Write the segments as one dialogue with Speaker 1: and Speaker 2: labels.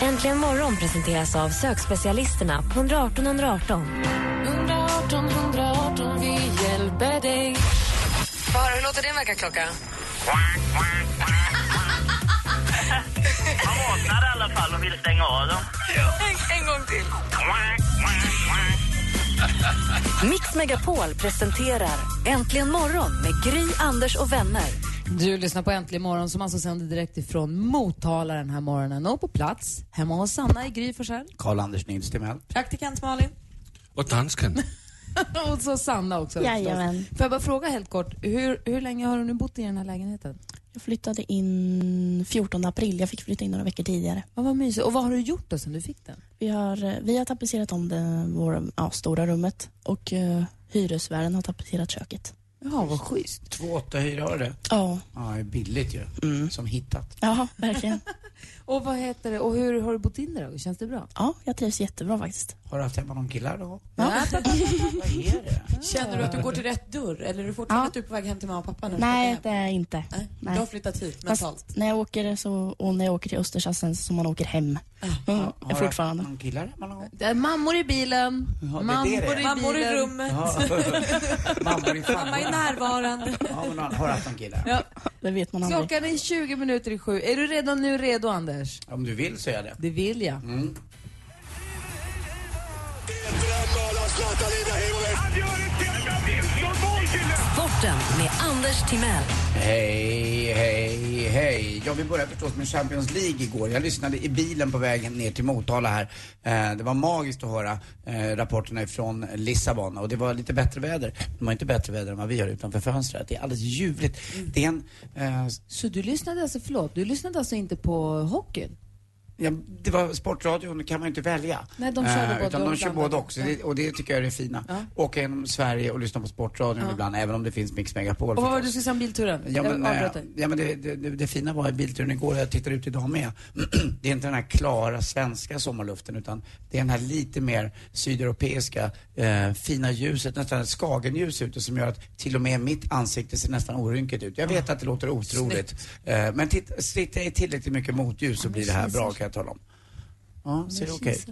Speaker 1: Äntligen morgon presenteras av sökspecialisterna på 118 118.
Speaker 2: Far, hur låter din väckarklocka?
Speaker 3: Man vaknar i alla fall och vill stänga av dem.
Speaker 2: En, en gång till.
Speaker 1: Mix Megapol presenterar Äntligen morgon med Gry, Anders och vänner.
Speaker 4: Du lyssnar på Äntligen morgon som alltså sänder direkt ifrån Motala den här morgonen och på plats hemma hos Sanna i Gry Forssell.
Speaker 5: Karl-Anders Nils Timell.
Speaker 4: Praktikant Malin.
Speaker 6: Och dansken.
Speaker 4: och så Sanna också förstås.
Speaker 7: Jajamän.
Speaker 4: Får jag bara fråga helt kort, hur, hur länge har du nu bott i den här lägenheten?
Speaker 7: Jag flyttade in 14 april. Jag fick flytta in några veckor tidigare.
Speaker 4: Ja, vad mysigt. Och vad har du gjort då sen du fick den?
Speaker 7: Vi har, eh, vi har tapetserat om det vår, ja, stora rummet och uh, hyresvärden har tapetserat köket.
Speaker 4: Ja, vad schysst.
Speaker 5: 2,8 hyra har det.
Speaker 7: Ja,
Speaker 5: Ja, det är billigt ju. Som hittat.
Speaker 7: ja verkligen.
Speaker 4: Och vad heter det, och hur har du bott in det då? Känns det bra?
Speaker 7: ja, jag trivs jättebra faktiskt.
Speaker 5: Har du haft hemma någon killar då?
Speaker 4: Ja.
Speaker 8: Känner du att du går till rätt dörr eller är du fortfarande
Speaker 7: Ja.
Speaker 8: typ på väg hem till mamma och pappa nu?
Speaker 7: Nej, det
Speaker 8: det...
Speaker 7: är jag inte.
Speaker 8: Du har flyttat hit mentalt.
Speaker 7: Fast när jag åker, så, och när jag åker till Östersund sen så som man åker hem.
Speaker 8: Ah.
Speaker 7: Mm,
Speaker 5: Har du haft
Speaker 7: fortfarande.
Speaker 5: någon killar hemma någon gång?
Speaker 4: Det är mammor i bilen.
Speaker 5: det är
Speaker 4: mammor
Speaker 5: det det är.
Speaker 4: i
Speaker 8: Mammor i
Speaker 4: bilen.
Speaker 8: rummet.
Speaker 5: Ja. Mamma är fan.
Speaker 8: Mamma är närvarande.
Speaker 5: Ja, men har har du haft någon killar?
Speaker 7: Det vet man aldrig.
Speaker 4: Klockan är 20 minuter i sju. Är du redan nu redo, Anders?
Speaker 5: Om du vill så är jag det.
Speaker 4: Det vill jag.
Speaker 5: Mm.
Speaker 1: Sporten med Anders Timell.
Speaker 5: Hej, hej, hej. Ja, vi började förstås med Champions League igår. Jag lyssnade i bilen på vägen ner till Motala här. Eh, det var magiskt att höra eh, rapporterna ifrån Lissabon och det var lite bättre väder. De har inte bättre väder än vad vi har utanför fönstret. Det är alldeles ljuvligt. Det är en... Eh,
Speaker 4: Så du lyssnade alltså, förlåt, du lyssnade alltså inte på hockeyn?
Speaker 5: Ja, det var sportradion, kan man ju inte välja. Eh,
Speaker 4: Nej, de körde både
Speaker 5: utan
Speaker 4: och
Speaker 5: de kör
Speaker 4: blandat.
Speaker 5: både också. Det, och det tycker jag är det fina.
Speaker 4: Ja.
Speaker 5: Åka genom Sverige och lyssna på sportradion ibland, även om det finns Mix Megapol.
Speaker 4: Och vad var det du skulle
Speaker 5: förstås.
Speaker 4: säga om bilturen?
Speaker 5: Ja, men,
Speaker 4: jag
Speaker 5: eh,
Speaker 4: avbröt dig.
Speaker 5: ja, men det, det, det, det fina var i bilturen igår, jag tittar ut idag med, det är inte den här klara svenska sommarluften utan det är den här lite mer sydeuropeiska eh, fina ljuset, nästan ett skagenljus ute som gör att till och med mitt ansikte ser nästan orynkigt ut. Jag vet att det låter otroligt, eh, men titt- sitter jag i tillräckligt mycket motljus så blir det här bra kan jag tala om. Ja, ser det okej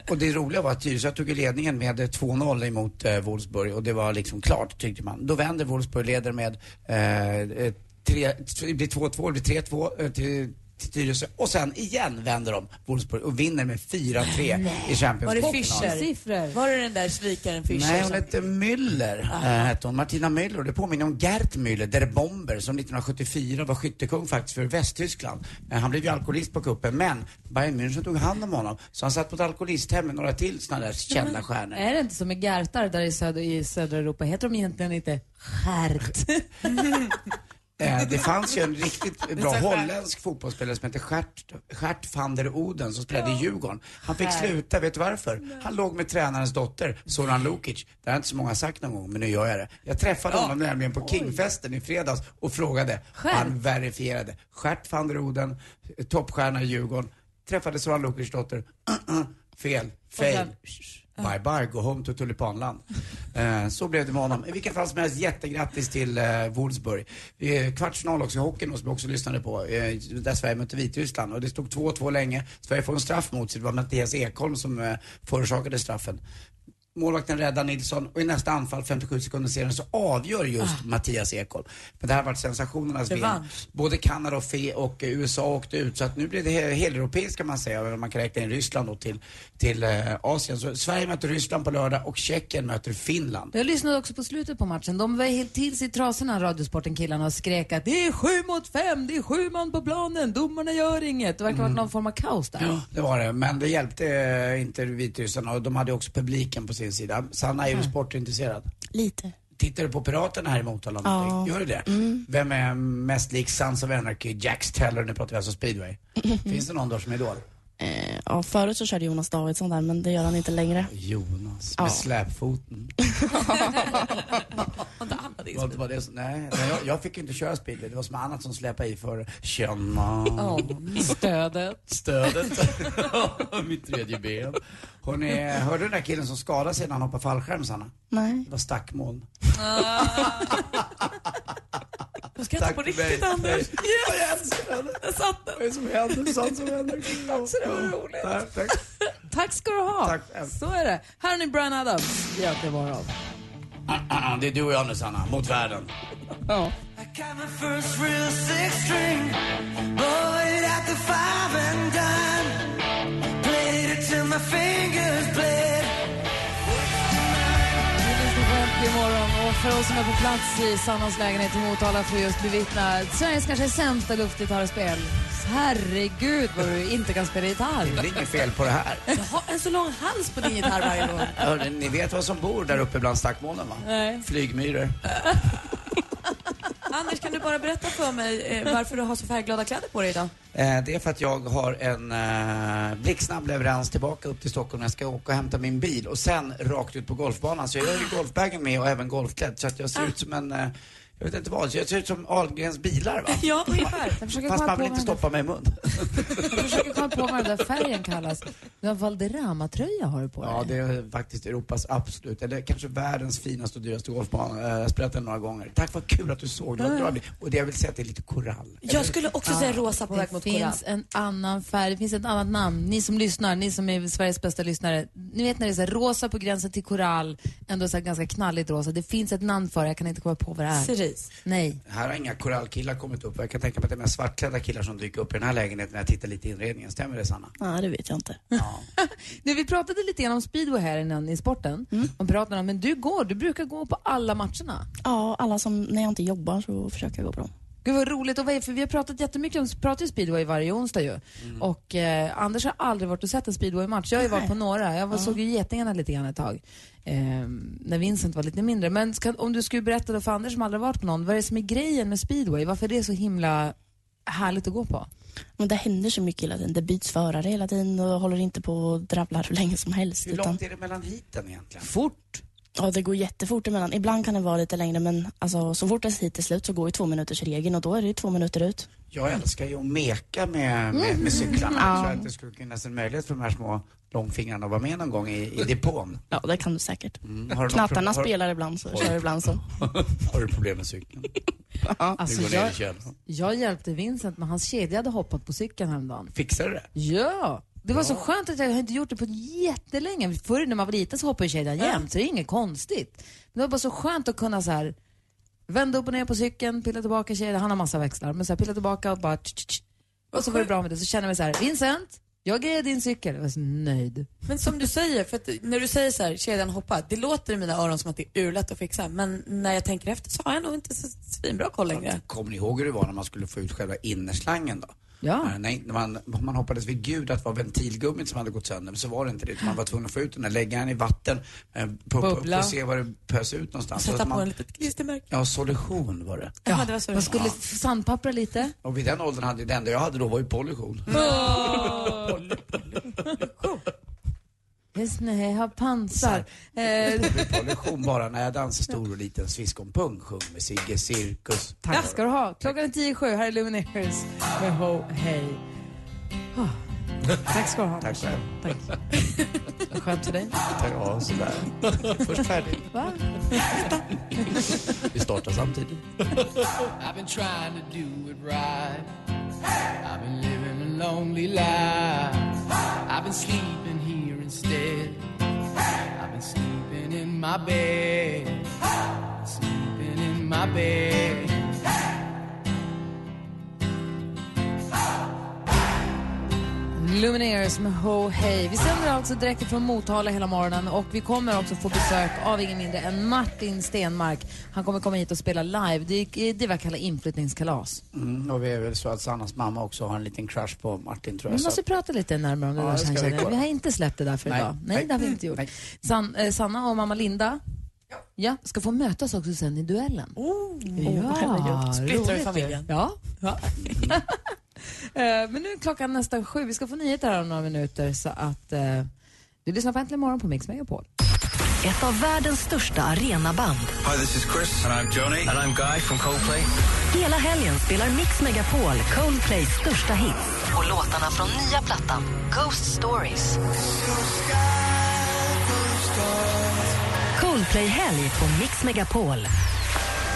Speaker 5: ut? Och det roliga var att Tyresö tog ju ledningen med eh, 2-0 emot eh, Wolfsburg och det var liksom klart tyckte man. Då vänder Wolfsburg, leder med eh, eh, tre, det blir 2-2, det blir 3-2 eh, till, till Tyresö och sen igen vänder de Wolfsburg och vinner med 4-3 i Champions
Speaker 8: Var det
Speaker 5: League-finalen.
Speaker 8: Fischer?
Speaker 4: Siffror.
Speaker 8: Var det den där svikaren Fischer?
Speaker 5: Nej, hon
Speaker 8: som- Ah.
Speaker 5: hette Müller. eh, hette hon. Martina Müller. Och Det påminner om Gert Müller, Der Bomber, som 1974 var skyttekung faktiskt för Västtyskland. Eh, Han blev ju alkoholist på kuppen, men Bayern München tog hand om honom. Så han satt på ett alkoholisthem med några till sådana där kända stjärnor.
Speaker 8: Eh,
Speaker 4: Är det inte som med gärtar där i södra, i södra Europa? Heter de egentligen inte skärt?
Speaker 5: Eh, Det fanns ju en riktigt bra
Speaker 8: så skönt.
Speaker 5: holländsk fotbollsspelare som hette Gert, Gert van der Oden som spelade i Djurgården. Han fick sluta, vet du varför? Han låg med tränarens dotter, Zoran Lukic. Det har inte så många sagt någon gång, men nu gör jag det. Jag träffade honom nämligen på Kingfesten i fredags och frågade. Han verifierade. Gert van der Oden, eh, toppstjärna i Djurgården. Träffade Zoran Lukics dotter. Uh-uh, fel, fail.
Speaker 4: sen-
Speaker 5: Bye bye, go home to tulipanland. Eh, så blev det med honom. I vilket fall som helst, jättegrattis till eh, Wolfsburg. Det är kvartsfinal också i hockeyn då, som jag också lyssnade på, eh, där Sverige mötte Vitryssland. Och det stod 2-2 länge. Sverige får en straff mot sig. Det var Mattias Ekholm som eh, förorsakade straffen. Målvakten räddar Nilsson och i nästa anfall, 57 sekunder senare, så avgör just Mattias Ekholm. Men det här har varit sensationernas VM.
Speaker 8: Revansch.
Speaker 5: Både Kanada och, Fe och eh, USA åkte ut så att nu blir det he- heleuropeiskt kan man säga. Även om Man kan räkna in Ryssland då till, till eh, Asien. Så Sverige möter Ryssland på lördag och Tjeckien möter Finland.
Speaker 4: Jag lyssnade också på slutet på matchen. De var helt till sig i trasorna, Radiosporten-killarna, och skrek att det är sju mot fem, det är sju man på planen, domarna gör inget. Det verkar
Speaker 5: Mm.
Speaker 4: ha varit någon form av kaos där.
Speaker 5: Ja, det var det. Men det hjälpte eh, inte Vitryssarna och de hade också publiken på sin sida. Sanna, är du sportintresserad?
Speaker 7: Lite.
Speaker 5: Tittar du på Piraterna här i Motala? Ja. Mm. Gör du det? Vem är mest lik Sons of Anarchy, Jax Teller, nu pratar vi alltså speedway. Finns det någon då som är idol?
Speaker 7: Eh, ja, förut så körde Jonas Davidsson där, men det gör han inte längre.
Speaker 5: Jonas
Speaker 7: Ja.
Speaker 5: med släpfoten. Vad var det? som- Nej, nej, jag, jag fick ju inte köra speedway. Det var som annat som släpade i för känna
Speaker 4: Stödet.
Speaker 5: stödet. Mitt tredje ben. Hörrni, hörde du den där killen som skadade sig när han hoppade fallskärm, Sanna?
Speaker 7: Nej.
Speaker 5: Det var stackmoln.
Speaker 8: Ah. Jag skrattar på riktigt Anders. Jag satt där.
Speaker 5: Vad är det som händer? Det är sant som händer.
Speaker 8: Så det var roligt.
Speaker 5: Tack, tack.
Speaker 4: Tack ska du ha.
Speaker 5: Tack.
Speaker 4: Så är det. Här har ni Brian Adams. Ja, det var de.
Speaker 5: Ah, ah, ah, Det är du och jag nu, Sanna. Mot världen.
Speaker 4: Ja. Skönt imorgon och för oss som är på plats i Sannas lägenhet i Motala får just bevittna Sveriges kanske sämsta luftgitarrspel. Herregud vad du inte kan spela gitarr.
Speaker 5: Det är inget fel på det här.
Speaker 8: Jag har en så lång hals på din gitarr varje gång.
Speaker 5: Hörrni, ni vet vad som bor där uppe bland stackmolnen, va?
Speaker 4: Nej.
Speaker 5: Flygmyror.
Speaker 8: Anders, kan du bara berätta för mig eh, varför du har så färgglada kläder på dig idag?
Speaker 5: Eh, Det är för att jag har en eh, blixtsnabb leverans tillbaka upp till Stockholm. Jag ska åka och hämta min bil och sen rakt ut på golfbanan. Så jag har
Speaker 4: Ah.
Speaker 5: ju golfbagen med och även golfklädd. Så att jag ser ut som en, eh, jag vet inte vad, jag ser ut som Ahlgrens bilar va?
Speaker 8: Ja, ungefär.
Speaker 4: Jag försöker
Speaker 5: Fast
Speaker 4: komma
Speaker 5: man
Speaker 4: på
Speaker 5: vill inte
Speaker 4: vad den
Speaker 5: stoppa mig i mun.
Speaker 4: där- jag försöker komma på vad den där färgen kallas. Du har Valderrama-tröja har du på dig.
Speaker 5: Ja, det är faktiskt Europas absolut, eller kanske världens finaste och dyraste golfbana. Eh, Jag har spelat den några gånger. Tack, vad kul att du såg det. Vad
Speaker 4: Ah.
Speaker 5: bra det blev. Och det jag vill säga att det är lite korall.
Speaker 8: Jag skulle också säga rosa på väg
Speaker 4: Det
Speaker 8: mot kolan.
Speaker 4: finns en annan färg, det finns ett annat namn. Ni som lyssnar, ni som är Sveriges bästa lyssnare. Ni vet när det är så här rosa på gränsen till korall, ändå så här ganska knalligt rosa. Det finns ett namn för det, jag kan inte komma på vad det är.
Speaker 8: Cerise.
Speaker 4: Nej.
Speaker 5: Här har inga korallkillar kommit upp. Jag kan tänka mig att det är mest svartklädda killar som dyker upp i den här lägenheten när jag tittar lite i inredningen. Stämmer det Sanna?
Speaker 7: Nej, det vet jag inte.
Speaker 5: Ja.
Speaker 4: Nu, vi pratade lite grann om speedway här innan i sporten. Man pratade om, men du går, du brukar gå på alla matcherna.
Speaker 7: Ja, alla som, när jag inte jobbar så försöker jag gå på dem.
Speaker 4: Gud vad roligt, och vad är, för vi har pratat jättemycket om pratar ju speedway varje onsdag ju. Och eh, Anders har aldrig varit och sett en speedwaymatch. Jag har ju varit på några, jag var, såg ju Getingarna lite grann ett tag. Ehm, när Vincent var lite mindre. Men ska, om du skulle berätta då för Anders som aldrig varit på någon, vad är det som är grejen med speedway? Varför är det så himla härligt att gå på?
Speaker 7: Men det händer så mycket hela tiden. Det byts förare hela tiden och håller inte på och drabblar hur länge som helst.
Speaker 5: Hur
Speaker 7: Utan,
Speaker 5: långt är det mellan hiten egentligen?
Speaker 4: Fort!
Speaker 7: ja, det går jättefort emellan. Ibland kan det vara lite längre men alltså, så fort det hit är slut så går ju två minuters regeln och då är det ju två minuter ut.
Speaker 5: Jag älskar ju att meka med, med, med cyklarna. Jag tror att det skulle finnas en möjlighet för de här små långfingrarna att vara med någon gång i, i depån.
Speaker 7: Ja, det kan du säkert.
Speaker 5: Mm, har du något
Speaker 7: Knattarna
Speaker 5: pro- har-
Speaker 7: spelar ibland så,
Speaker 5: Oj.
Speaker 7: kör ibland så.
Speaker 5: Har du problem med cykeln?
Speaker 4: Alltså,
Speaker 5: du går ner i
Speaker 4: jag,
Speaker 5: kön.
Speaker 4: jag hjälpte Vincent men hans kedja hade hoppat på cykeln häromdagen.
Speaker 5: Fixar du det?
Speaker 4: Ja, det var så skönt att jag har inte gjort det på jättelänge. Förr när man var liten så hoppade ju kedjan jämt, så det är inget konstigt. Men det var bara så skönt att kunna så här vända upp och ner på cykeln, pilla tillbaka kedjan, han har massa växlar, men så här, pilla tillbaka och bara tsch, tsch, tsch. Och så var det bra med det. Så känner jag mig så här, Vincent, jag grejer din cykel. Jag var så nöjd.
Speaker 8: Men som du säger, för att när du säger så här, kedjan hoppar, det låter i mina öron som att det är urlätt att fixa, men när jag tänker efter så har jag nog inte så svinbra koll längre.
Speaker 5: Kommer ni ihåg hur det var när man skulle få ut själva innerslangen då?
Speaker 4: Ja.
Speaker 5: När- När när man, man hoppades vid gud att det var ventilgummit som hade gått sönder, men så var det inte det. utan Man var tvungen att få ut den där, lägga den i vatten, eh, på, på, på,
Speaker 4: Bubbla.
Speaker 5: och se var det pös ut någonstans. Så
Speaker 8: Sätta
Speaker 5: att
Speaker 8: på en
Speaker 5: man,
Speaker 8: litet klistermärke.
Speaker 5: ja, solution var det.
Speaker 8: Ja, det var så det
Speaker 4: Man
Speaker 8: var.
Speaker 4: skulle f- sandpappra lite.
Speaker 5: Och vid den åldern hade det enda jag hade då var ju pollution.
Speaker 4: Visst, nej, jag har pansar. Eh,
Speaker 5: Det blev pollution bara när jag dansade stor och liten sviskonpung sjöng med Sigge Cirkus.
Speaker 4: Tack ska du ha. Klockan är tio i sju. Här är Lumineers med Ho Hey. Ah. Tack ska du ha.
Speaker 5: Tack själv.
Speaker 4: Skönt för dig.
Speaker 5: Tack, ja, sådär. Först färdig.
Speaker 4: Va?
Speaker 5: Vi startar samtidigt.
Speaker 9: I've been trying to do it right. I've been living a lonely life. I've been sleeping here instead. I've been sleeping in my bed. Sleeping in my bed.
Speaker 4: Lumineers med Ho Hey. Vi sänder alltså direkt från Motala hela morgonen och vi kommer också få besök av ingen mindre än Martin Stenmark. Han kommer komma hit och spela live. Det är det vi kallar inflyttningskalas.
Speaker 5: Mm, och vi är väl så att Sannas mamma också har en liten crush på Martin tror jag.
Speaker 4: Vi
Speaker 5: Så
Speaker 4: måste prata lite närmare om det
Speaker 5: Ja,
Speaker 4: där
Speaker 5: det ska
Speaker 4: sen
Speaker 5: vi
Speaker 4: känner jag.
Speaker 5: kolla.
Speaker 4: Vi har inte släppt det där för
Speaker 5: Nej.
Speaker 4: idag. Nej,
Speaker 5: Nej.
Speaker 4: det har vi inte gjort.
Speaker 5: Nej.
Speaker 4: San, eh, Sanna och mamma Linda ja, ska få mötas också sen i duellen. Oh, ja,
Speaker 7: herregud.
Speaker 8: Splittrar i
Speaker 4: roligt ju.
Speaker 8: familjen.
Speaker 4: Ja. Eh, Men nu är klockan nästan sju. Vi ska få nyheter här om några minuter. Så att eh, du lyssnar på Äntligen morgon på Mix Megapol.
Speaker 1: Ett av världens största arenaband.
Speaker 6: Hi, this is Chris. And I'm Johnny. And I'm Guy from Coldplay.
Speaker 1: Hela helgen spelar Mix Megapol Coldplays största hits och låtarna från nya plattan Ghost Stories. Coldplay-helg på Mix Megapol.